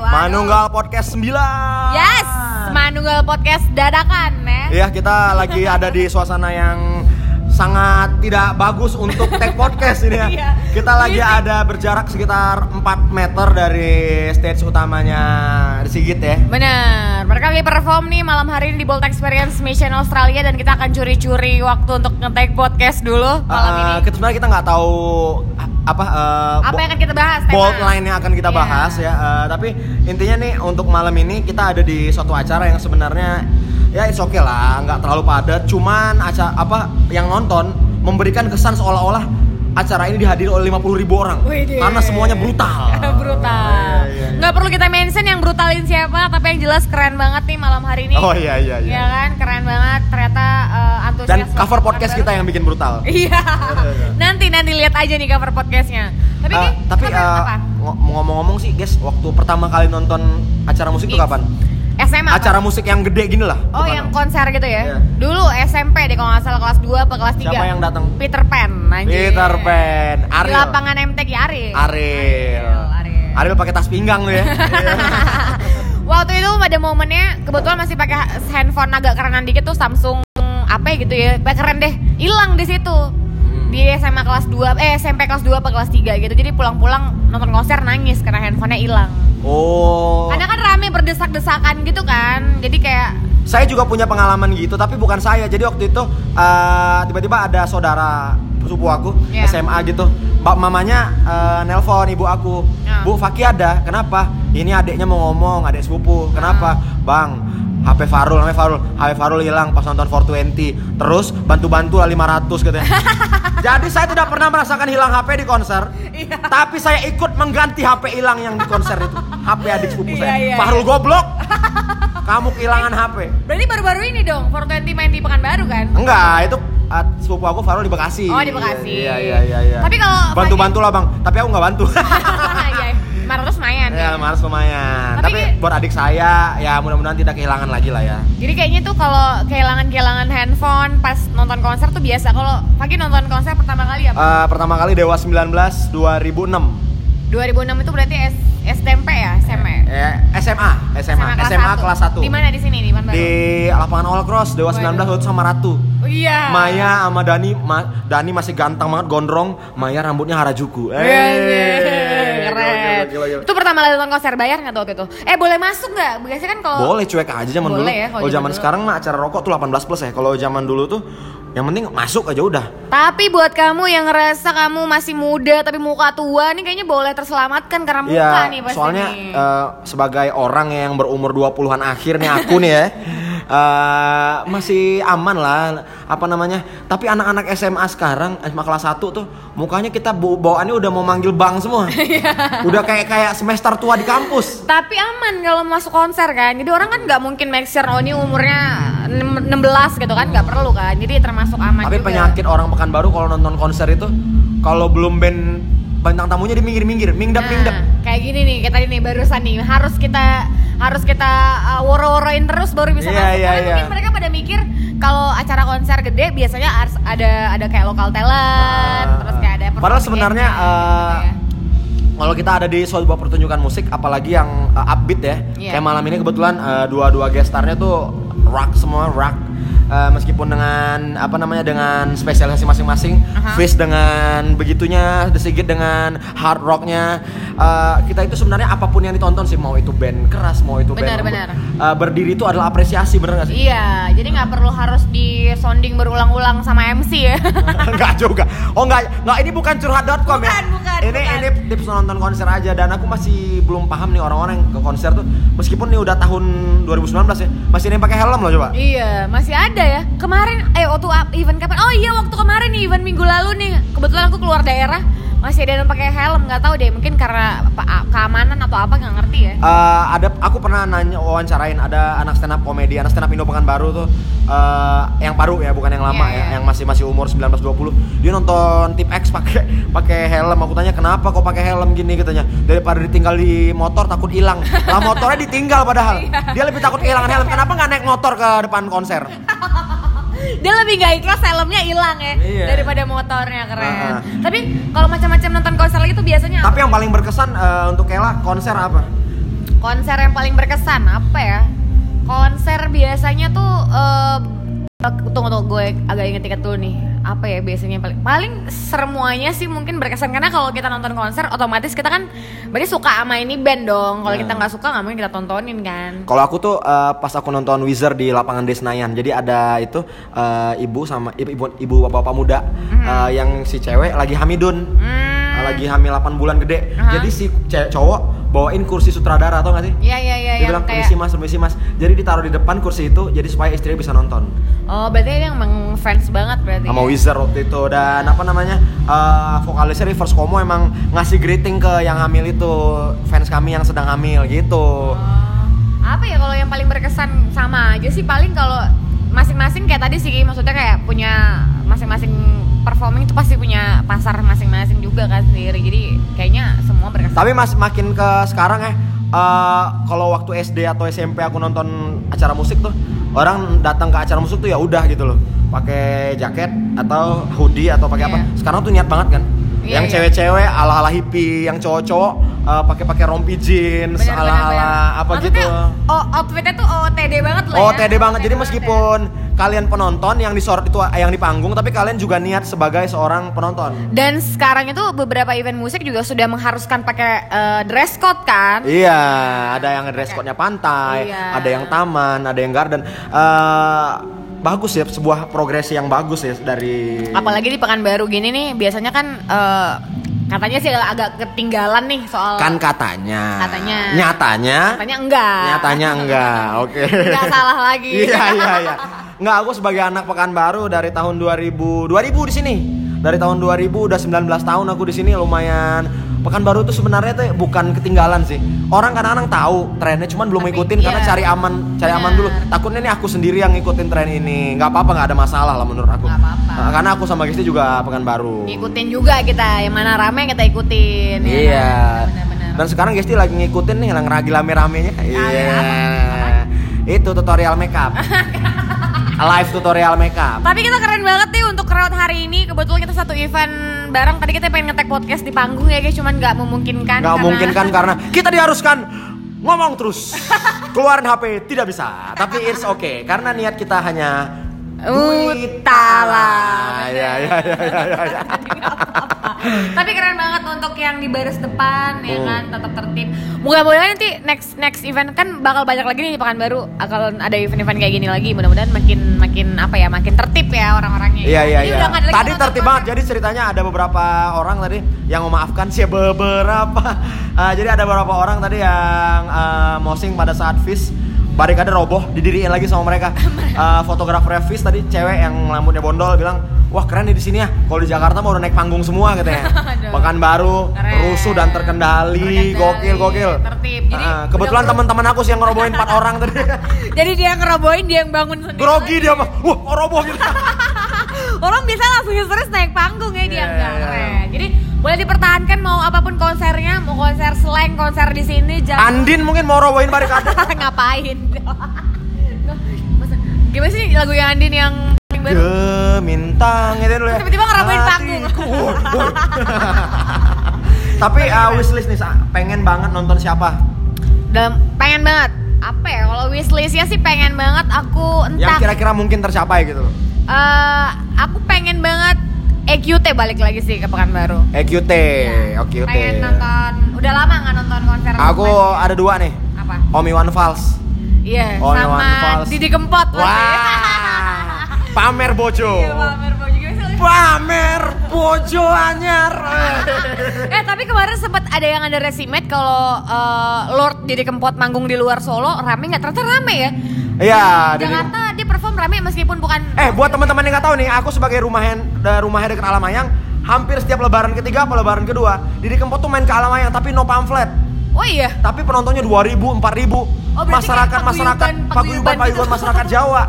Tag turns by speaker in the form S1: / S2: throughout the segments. S1: Manunggal Podcast 9
S2: Yes, Manunggal Podcast dadakan ya.
S1: Iya, kita lagi ada di suasana yang sangat tidak bagus untuk take podcast ini ya.
S2: Iya.
S1: Kita lagi ada berjarak sekitar 4 meter dari stage utamanya Sigit ya.
S2: Bener, mereka lagi perform nih malam hari ini di Bolt Experience Mission Australia dan kita akan curi-curi waktu untuk nge-take podcast dulu malam
S1: Eh,
S2: ini.
S1: kita sebenarnya kita nggak tahu a- apa eh,
S2: Apa
S1: bo-
S2: yang akan kita bahas? tema?
S1: bold line yang akan kita
S2: Iya.
S1: bahas ya. Eh, tapi intinya nih untuk malam ini kita ada di suatu acara yang sebenarnya ya it's okay lah, nggak terlalu padat. Cuman acara apa yang nonton memberikan kesan seolah-olah acara ini dihadiri oleh 50.000 ribu orang
S2: Widih.
S1: karena semuanya brutal. Iya,
S2: brutal.
S1: iya, iya.
S2: Nggak perlu kita mention yang brutalin siapa, tapi yang jelas keren banget nih malam hari ini.
S1: Oh iya iya iya.
S2: Iya kan, keren banget. Ternyata eh, antusias.
S1: Dan cover
S2: melakukan
S1: podcast
S2: baru.
S1: kita yang bikin brutal.
S2: Iya. nanti nanti lihat aja nih cover podcastnya. Tapi
S1: Eh,
S2: Ki,
S1: tapi
S2: apa-
S1: eh,
S2: apa?
S1: ngo- ngomong-ngomong sih, guys, waktu pertama kali nonton acara musik itu
S2: Ih,
S1: kapan?
S2: SMA. Iya. apa?
S1: acara musik yang gede gini lah.
S2: Oh,
S1: bukan?
S2: yang konser gitu ya?
S1: Iya.
S2: Dulu SMP deh kalau nggak salah kelas 2 atau kelas 3.
S1: Siapa yang datang?
S2: Peter Pan, anjir.
S1: Peter Pan, Ariel.
S2: Di lapangan MTQ Ariel.
S1: Ariel.
S2: Ariel.
S1: Ariel pakai tas pinggang lu ya.
S2: Waktu itu pada momennya kebetulan masih pakai handphone agak kerenan dikit tuh Samsung apa ya gitu ya. Pakai keren deh. Hilang di situ.
S1: Hmm.
S2: Di SMA kelas 2 eh SMP kelas 2 apa kelas 3 gitu. Jadi pulang-pulang nonton konser nangis karena handphonenya hilang.
S1: oh.
S2: Karena kan rame berdesak-desakan gitu kan. Jadi kayak
S1: Saya juga punya pengalaman gitu, tapi bukan saya. Jadi waktu itu eh, tiba-tiba ada saudara sepupu aku
S2: Iya.
S1: SMA gitu. Mbak mamanya eh, nelpon ibu aku.
S2: Ah.
S1: Bu Faki ada. Kenapa? Ini adiknya mau ngomong, adik sepupu. Kenapa?
S2: Iya.
S1: Bang, HP Farul, namanya Farul. HP Farul hilang pas nonton 420. Terus bantu-bantu lah 500 katanya. Jadi saya tidak pernah merasakan hilang HP di konser.
S2: Iya.
S1: Tapi saya ikut mengganti HP hilang yang di konser itu. HP adik sepupu saya.
S2: Iya, iya,
S1: Farul goblok. Kamu kehilangan HP.
S2: berarti baru-baru ini dong 420 main di Pekanbaru kan?
S1: Enggak, itu uh, sepupu aku Farul di Bekasi.
S2: Oh, di Bekasi.
S1: Iya iya iya. iya.
S2: Tapi kalau
S1: bantu bantu lah bang, tapi aku nggak bantu.
S2: Iya, Maret terus lumayan
S1: ya
S2: kan?
S1: males lumayan.
S2: Tapi
S1: Tapi,
S2: kayak-
S1: buat adik saya, ya mudah-mudahan tidak kehilangan lagi lah ya.
S2: Jadi kayaknya tuh kalau kehilangan-kehilangan handphone pas nonton konser tuh biasa. Kalau pagi nonton konser pertama kali apa?
S1: Eh, pertama kali Dewa 19 2006.
S2: 2006 itu berarti S SMP ya, SMA.
S1: Eh, SMA, SMA, SMA kelas 1.
S2: Di mana di sini di mana?
S1: Di lapangan All Cross Dewa 19
S2: Waduh.
S1: waktu itu sama Ratu.
S2: Oh, iya.
S1: Maya sama Dani, Ma- Dani masih ganteng banget gondrong, Maya rambutnya Harajuku. Eh,
S2: Iya, iya,
S1: gila,
S2: Keren.
S1: gila, gila, gila.
S2: Itu pertama kali nonton konser bayar nggak tuh waktu itu? Eh boleh masuk nggak? Biasanya kan kalau
S1: Boleh cuek aja zaman
S2: Boleh
S1: dulu.
S2: ya kalau
S1: kalau
S2: zaman
S1: zaman
S2: dulu.
S1: sekarang mah acara rokok tuh 18 plus ya. Kalau zaman dulu tuh yang penting masuk aja udah.
S2: Tapi buat kamu yang ngerasa kamu masih muda tapi muka tua nih kayaknya boleh terselamatkan karena muka
S1: Iya,
S2: nih pasti
S1: soalnya
S2: nih.
S1: eh, sebagai orang yang berumur 20-an akhir nih aku nih ya. eh, masih aman lah apa namanya tapi anak-anak SMA sekarang SMA kelas 1 tuh mukanya kita bau- bawaannya udah mau manggil bang semua
S2: Iya.
S1: udah kayak kayak semester tua di kampus
S2: Tapi aman kalau masuk konser kan. Jadi orang kan nggak mungkin make sure oh ini umurnya nem- 16 gitu kan nggak perlu kan. Jadi termasuk aman
S1: tapi
S2: juga.
S1: penyakit orang Pekanbaru kalau nonton konser itu kalau belum band bintang tamunya di minggir-minggir mingdap mingdap
S2: Nah, kayak gini nih, kayak tadi nih barusan nih harus kita harus kita uh, woro-woroin terus baru
S1: Iya,
S2: bisa masuk.
S1: iya,
S2: Karena
S1: iya.
S2: mungkin mereka pada mikir kalau acara konser gede biasanya harus ada ada kayak lokal talent,
S1: Ah.
S2: terus kayak ada
S1: Padahal
S2: performing
S1: sebenarnya
S2: angel,
S1: eh,
S2: gitu ya.
S1: kalau kita ada di sebuah pertunjukan musik, apalagi yang eh, upbeat ya,
S2: Iya.
S1: kayak malam ini kebetulan eh, dua-dua gestarnya tuh rock semua rock. Eh, meskipun dengan apa namanya dengan spesialisasi masing-masing,
S2: Aha.
S1: Fish dengan begitunya, The Sigit dengan hard rocknya, Eh, kita itu sebenarnya apapun yang ditonton sih mau itu band keras, mau itu
S2: Benar,
S1: band
S2: benar.
S1: eh, berdiri itu adalah apresiasi bener gak sih?
S2: Iya, jadi nggak perlu harus di sounding berulang-ulang sama MC ya.
S1: enggak juga. Oh enggak, enggak ini bukan curhat.com ya.
S2: Bukan, bukan,
S1: Ini
S2: bukan.
S1: ini tips nonton konser aja dan aku masih belum paham nih orang-orang yang ke konser tuh meskipun nih udah tahun 2019 ya, masih ada yang pakai helm loh coba.
S2: iya, masih ada ya. Kemarin eh waktu up event kapan? Oh iya, waktu kemarin nih event minggu lalu nih. Kebetulan aku keluar daerah, masih ada yang pakai helm, nggak tahu deh, mungkin karena apa- keamanan atau apa nggak ngerti ya.
S1: Eh, ada aku pernah nanya wawancarain ada anak stand up komedi, anak stand up Indo Pekanbaru tuh eh, yang baru ya, bukan yang lama ya,
S2: Iya, iya.
S1: yang masih masih umur 19 20. Dia nonton Tip X pakai pakai helm. Aku tanya kenapa kok pakai helm gini katanya. Daripada ditinggal di motor takut hilang. Lah motornya ditinggal padahal.
S2: Iya.
S1: Dia lebih takut kehilangan helm. Kenapa nggak naik motor ke depan konser?
S2: Dia lebih nggak ikhlas helmnya hilang ya
S1: Iya.
S2: daripada motornya keren.
S1: Ah.
S2: Tapi kalau macam-macam nonton konser lagi tuh biasanya
S1: Tapi yang paling berkesan eh, untuk Kela konser apa?
S2: apa? Konser yang paling berkesan apa ya? Konser biasanya tuh eh, tunggu tunggu gue agak inget-inget dulu nih. Apa ya biasanya yang paling paling semuanya sih mungkin berkesan karena kalau kita nonton konser otomatis kita kan berarti suka sama ini band
S1: Iya.
S2: dong. Kalau kita nggak suka nggak mungkin kita tontonin kan.
S1: Kalau aku tuh eh, pas aku nonton Wizard di lapangan Desnayan, jadi ada itu eh, ibu sama ibu ibu, ibu bapak-bapak muda eh, yang si cewek lagi hamidun,
S2: Hmm.
S1: lagi hamil 8 bulan gede.
S2: Aha.
S1: Jadi si ce- cowok bawain kursi sutradara atau nggak sih?
S2: Iya iya iya
S1: Dia
S2: yang
S1: bilang
S2: kayak
S1: permisi mas, permisi mas. Jadi ditaruh di depan kursi itu, jadi supaya istrinya bisa nonton.
S2: Oh, berarti dia emang fans banget berarti.
S1: Sama
S2: ya?
S1: Wizard waktu itu dan apa namanya eh, vokalisnya Rivers Cuomo emang ngasih greeting ke yang hamil itu fans kami yang sedang hamil gitu.
S2: Oh, apa ya kalau yang paling berkesan sama aja sih paling kalau masing-masing kayak tadi sih maksudnya kayak punya masing-masing performing itu pasti punya pasar masing-masing juga kan sendiri jadi kayaknya semua berkesan
S1: Tapi mas makin ke sekarang ya, eh, kalau waktu SD atau SMP aku nonton acara musik tuh, orang datang ke acara musik tuh ya udah gitu loh, pakai jaket atau hoodie atau pakai apa.
S2: Iya.
S1: Sekarang tuh niat banget kan.
S2: Iya,
S1: yang
S2: iya.
S1: cewek-cewek ala-ala hippie, yang cowok-cowok eh, pakai-pakai rompi jeans,
S2: Bener, bener,
S1: ala-ala
S2: bener.
S1: apa
S2: Maksudnya,
S1: gitu.
S2: o- outfitnya tuh OOTD banget loh
S1: Oh,
S2: ya.
S1: TD banget. Jadi
S2: ya.
S1: meskipun kalian penonton yang di sor- itu eh, yang di panggung, tapi kalian juga niat sebagai seorang penonton.
S2: dan sekarang itu beberapa event musik juga sudah mengharuskan pakai eh, dress code kan
S1: Iya, ada yang dress code-nya pantai,
S2: Iya.
S1: ada yang taman, ada yang garden. Eh, bagus ya, sebuah progresi yang bagus ya dari
S2: apalagi di Pekanbaru gini nih biasanya kan eh, katanya sih agak ketinggalan nih soal
S1: kan katanya.
S2: Katanya.
S1: Nyatanya.
S2: Katanya enggak.
S1: Nyatanya enggak. Oke.
S2: Enggak salah lagi.
S1: Iya iya iya. Enggak aku sebagai anak Pekanbaru dari tahun 2000 2000 di sini. Dari tahun 2000 udah 19 tahun aku di sini lumayan Pekanbaru tuh sebenarnya tuh bukan ketinggalan sih. Orang kadang-kadang tahu trennya cuman belum
S2: Tapi,
S1: ngikutin karena
S2: iya.
S1: cari aman, cari aman dulu.
S2: Benar.
S1: Takutnya nih aku sendiri yang ngikutin tren ini. nggak apa-apa nggak ada masalah lah menurut aku.
S2: Nggak apa-apa. Iya,
S1: Nah, karena aku sama Gisti juga Pekanbaru.
S2: ngikutin juga kita yang mana rame kita ikutin ya
S1: Iya.
S2: kan? benar-benar Ah, ya.
S1: Dan sekarang Gesti lagi ngikutin nih yang lagi rame-ramenya. Iya. Itu tutorial makeup. Live tutorial makeup.
S2: tapi kita keren banget nih untuk crowd hari ini kebetulan kita satu event bareng tadi kita pengen ngetek podcast di panggung ya guys cuman nggak memungkinkan
S1: Nggak
S2: karena-
S1: mungkin kan karena kita diharuskan ngomong terus. Keluarin HP tidak bisa, tapi it's okay karena niat kita hanya
S2: Utala.
S1: Ya, ya, ya, ya, ya, ya.
S2: tapi keren banget untuk yang di baris depan ya
S1: Hmm.
S2: kan tetap tertib mudah-mudahan nanti next next event kan bakal banyak lagi nih di Pekanbaru kalau ada event-event kayak gini lagi mudah-mudahan makin makin apa ya makin tertib ya orang-orangnya
S1: Iya iya
S2: Jadi
S1: iya.
S2: udah nggak ada lagi
S1: Tadi
S2: yang
S1: tertib
S2: nonton.
S1: banget. Jadi ceritanya ada beberapa orang tadi yang memaafkan sih beberapa. Eh, jadi ada beberapa orang tadi yang eh, mosing pada saat fish barikade roboh didiriin lagi sama mereka. Eh, Fotografernya fish tadi cewek yang rambutnya bondol bilang Wah keren nih di sini ya. Kalau di Jakarta mau udah naik panggung semua katanya.
S2: Aduh.
S1: Pekanbaru
S2: Keren.
S1: rusuh dan terkendali,
S2: Terkendali,
S1: gokil gokil.
S2: tertib. Jadi
S1: Ah, kebetulan
S2: udah- Iya.
S1: teman-teman aku sih yang ngerobohin empat orang tadi.
S2: Jadi dia yang ngerobohin, dia yang bangun sendiri.
S1: Grogi dia mah. Wah, kok roboh gitu.
S2: Orang biasa langsung histeris naik panggung ya dia
S1: Iya,
S2: enggak
S1: iya,
S2: keren. Jadi boleh dipertahankan mau apapun konsernya, mau konser slang, konser di sini jangan
S1: Andin mungkin mau robohin barikade.
S2: ngapain. Masa- Gimana sih lagu yang Andin yang paling baru?
S1: Gemintang itu dulu ya.
S2: Tiba-tiba ngerabain panggung.
S1: Hatiku, woy, woy. Tapi uh, wishlist nih, Sa. pengen banget nonton siapa?
S2: Dalam pengen banget apa ya kalau wishlistnya sih pengen banget aku
S1: Yang
S2: entah
S1: kira-kira mungkin tercapai gitu loh.
S2: eh, aku pengen banget EQT balik lagi sih ke Pekanbaru
S1: EQT, oke oke.
S2: Iya. pengen nonton udah lama nggak nonton konser
S1: oh, Aku
S2: Pokemon.
S1: ada dua nih.
S2: apa
S1: Om Iwan Fals.
S2: iya
S1: Oh,
S2: sama
S1: Iwan Fals.
S2: Didi Kempot pasti.
S1: Wah. Pamer bojo.
S2: Iya, pamer baju. Gimana sih?
S1: Pamer bojo anyar.
S2: eh tapi kemarin sempat ada yang ada resimate kalau eh, Lord Didi Kempot manggung di luar Solo rame nggak ternyata rame ya
S1: Iya, Didi-
S2: Jakarta dia perform rame meskipun bukan
S1: Eh, buat teman-teman yang nggak tahu nih, aku sebagai rumahan da- rumahnya dekat Alamayang, hampir setiap lebaran ketiga apa lebaran kedua, Didi Kempot tuh main ke Alamayang tapi no pamflet.
S2: oh iya
S1: Tapi penontonnya 2000, 4000.
S2: Oh, berarti
S1: masyarakat
S2: kayak
S1: masyarakat paguyuban
S2: paguyuban- paguyuban
S1: paguyuban
S2: gitu. Iya.
S1: masyarakat Jawa.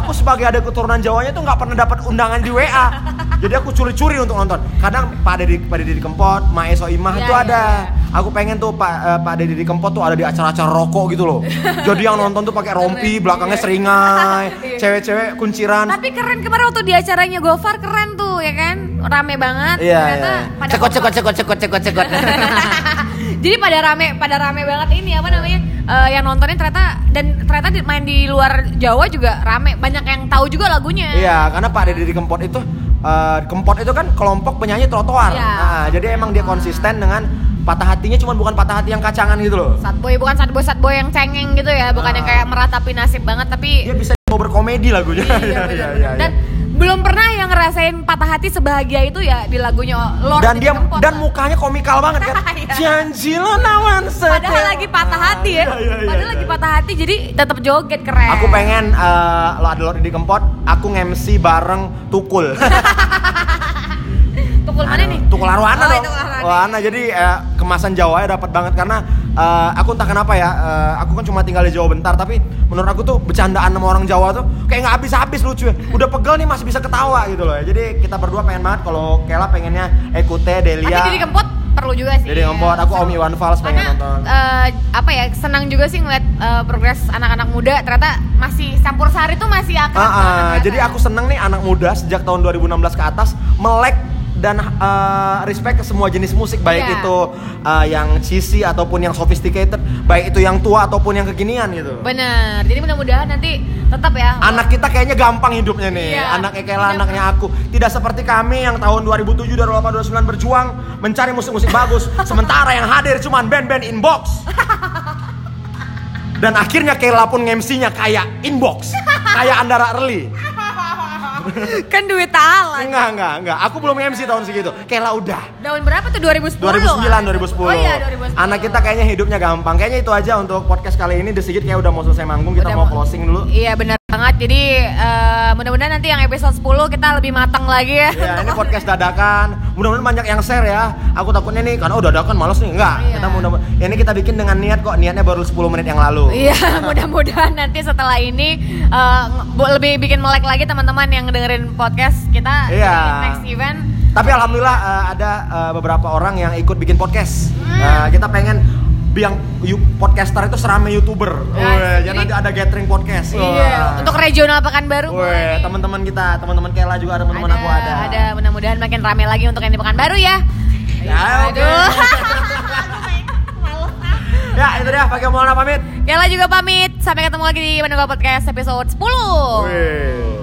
S1: Aku sebagai ada keturunan Jawanya tuh nggak pernah dapat undangan di WA. Jadi aku curi-curi untuk nonton. Kadang Pak Didi Pak Didi Kempot, Ma Eso Imah
S2: Iya,
S1: itu
S2: iya,
S1: ada.
S2: iya.
S1: Aku pengen tuh Pak eh, Pak Didi Kempot tuh ada di acara-acara rokok gitu loh. Jadi yang nonton tuh pakai rompi, belakangnya seringai, cewek-cewek kunciran,
S2: Iya. tapi keren kemarin waktu di acaranya Gofar keren tuh ya kan rame banget
S1: Iya.
S2: ternyata
S1: iya.
S2: pada
S1: Cekot cekot cekot cekot cekot cekot.
S2: Jadi pada rame, pada rame banget ini apa namanya? eh, yang nontonnya ternyata dan ternyata di- main di luar Jawa juga rame banyak yang tahu juga lagunya
S1: Iya, karena Pak Deddy di Kempot itu eh, Kempot itu kan kelompok penyanyi trotoar.
S2: Iya. Ah.
S1: Nah, jadi emang dia konsisten dengan patah hatinya cuman bukan patah hati yang kacangan gitu loh.
S2: Satboy bukan satboy satboy yang cengeng gitu ya
S1: Ah.
S2: bukan yang kayak meratapi nasib banget tapi
S1: Dia bisa mau berkomedi lagunya.
S2: Iya, bener-bener. dan belum pernah yang ngerasain patah hati sebahagia itu ya di lagunya Lord
S1: dan
S2: di
S1: dia
S2: Kempot
S1: dan
S2: lah.
S1: mukanya komikal banget kan.
S2: Iya.
S1: Janji lo nawan setia.
S2: padahal lagi patah hati ya
S1: Iya, iya, iya,
S2: padahal
S1: iya.
S2: lagi patah hati jadi tetap joget keren
S1: Aku pengen eh, lo ada Lord di Kempot, aku nge-MC bareng Tukul.
S2: tukul mana nih
S1: Tukul Arwana
S2: Oh,
S1: dong.
S2: Tukul Arwana.
S1: Arwana. jadi eh, kemasan Jawa ya dapat banget karena eh, aku entah kenapa ya, eh, aku kan cuma tinggal di Jawa bentar tapi menurut aku tuh bercandaan sama orang Jawa tuh kayak nggak habis-habis lucu ya. Udah pegel nih masih bisa ketawa gitu loh. ya. Jadi kita berdua pengen banget kalau Kela pengennya Ekute,
S2: tapi
S1: Delia.
S2: jadi kempot perlu juga sih
S1: iya. Didi Kempot, aku Om Iwan Fals pengen
S2: Karena,
S1: nonton.
S2: eh, apa ya senang juga sih ngeliat eh, progres anak-anak muda ternyata masih campur sari tuh masih
S1: Ah,
S2: akrab
S1: ah,
S2: banget ternyata.
S1: jadi aku seneng nih anak muda sejak tahun 2016 ke atas melek dan eh, respect ke semua jenis musik baik
S2: Iya.
S1: itu eh, yang cheesy ataupun yang sophisticated, baik itu yang tua ataupun yang kekinian gitu.
S2: bener jadi mudah-mudahan nanti tetap ya
S1: Anak kita kayaknya gampang hidupnya nih.
S2: Iya.
S1: Anaknya Kela,
S2: Iya.
S1: anaknya aku. Tidak seperti kami yang tahun 2007, 2008, 2009 berjuang mencari musik-musik bagus. Sementara yang hadir cuman band-band inbox. Dan akhirnya Kela pun MC-nya kayak inbox. Kayak Andara Early.
S2: kan duit Allah
S1: Enggak, enggak, enggak. Aku belum MC tahun segitu. Kela udah.
S2: tahun berapa tuh 2010
S1: 2009,
S2: kan?
S1: 2010.
S2: oh iya 2010
S1: Anak kita kayaknya hidupnya gampang. Kayaknya itu aja untuk podcast kali ini. Desigit kayak udah mau selesai manggung. Kita
S2: Udah
S1: mau
S2: mau-
S1: closing dulu.
S2: Iya benar banget. Jadi eh, mudah-mudahan nanti yang episode 10 kita lebih matang lagi ya.
S1: Ya, ini podcast dadakan. Mudah-mudahan banyak yang share ya. Aku takutnya nih karena oh dadakan males nih. Enggak.
S2: Iya.
S1: Kita mudah ini kita bikin dengan niat kok. Niatnya baru 10 menit yang lalu.
S2: Iya, mudah-mudahan nanti setelah ini eh, nge- bu- lebih bikin melek lagi teman-teman yang dengerin podcast kita di
S1: Iya.
S2: next event.
S1: Tapi alhamdulillah eh, ada eh, beberapa orang yang ikut bikin podcast.
S2: Hmm.
S1: Eh, kita pengen biang yu- podcaster itu serame youtuber. Weh,
S2: Ya, jadi-
S1: jadi nanti ada gathering podcast.
S2: Iya,
S1: Wah.
S2: untuk regional Pekanbaru.
S1: Weh,
S2: mulai.
S1: teman-teman kita, teman-teman Kela juga ada teman-teman aku ada.
S2: Ada, mudah-mudahan makin rame lagi untuk yang di Pekanbaru ya.
S1: Ya, oke.
S2: Aduh.
S1: Ya, itu dia. Pakai mohon pamit.
S2: Kela juga pamit. Sampai ketemu lagi di Menunggu Podcast episode 10.
S1: Weh.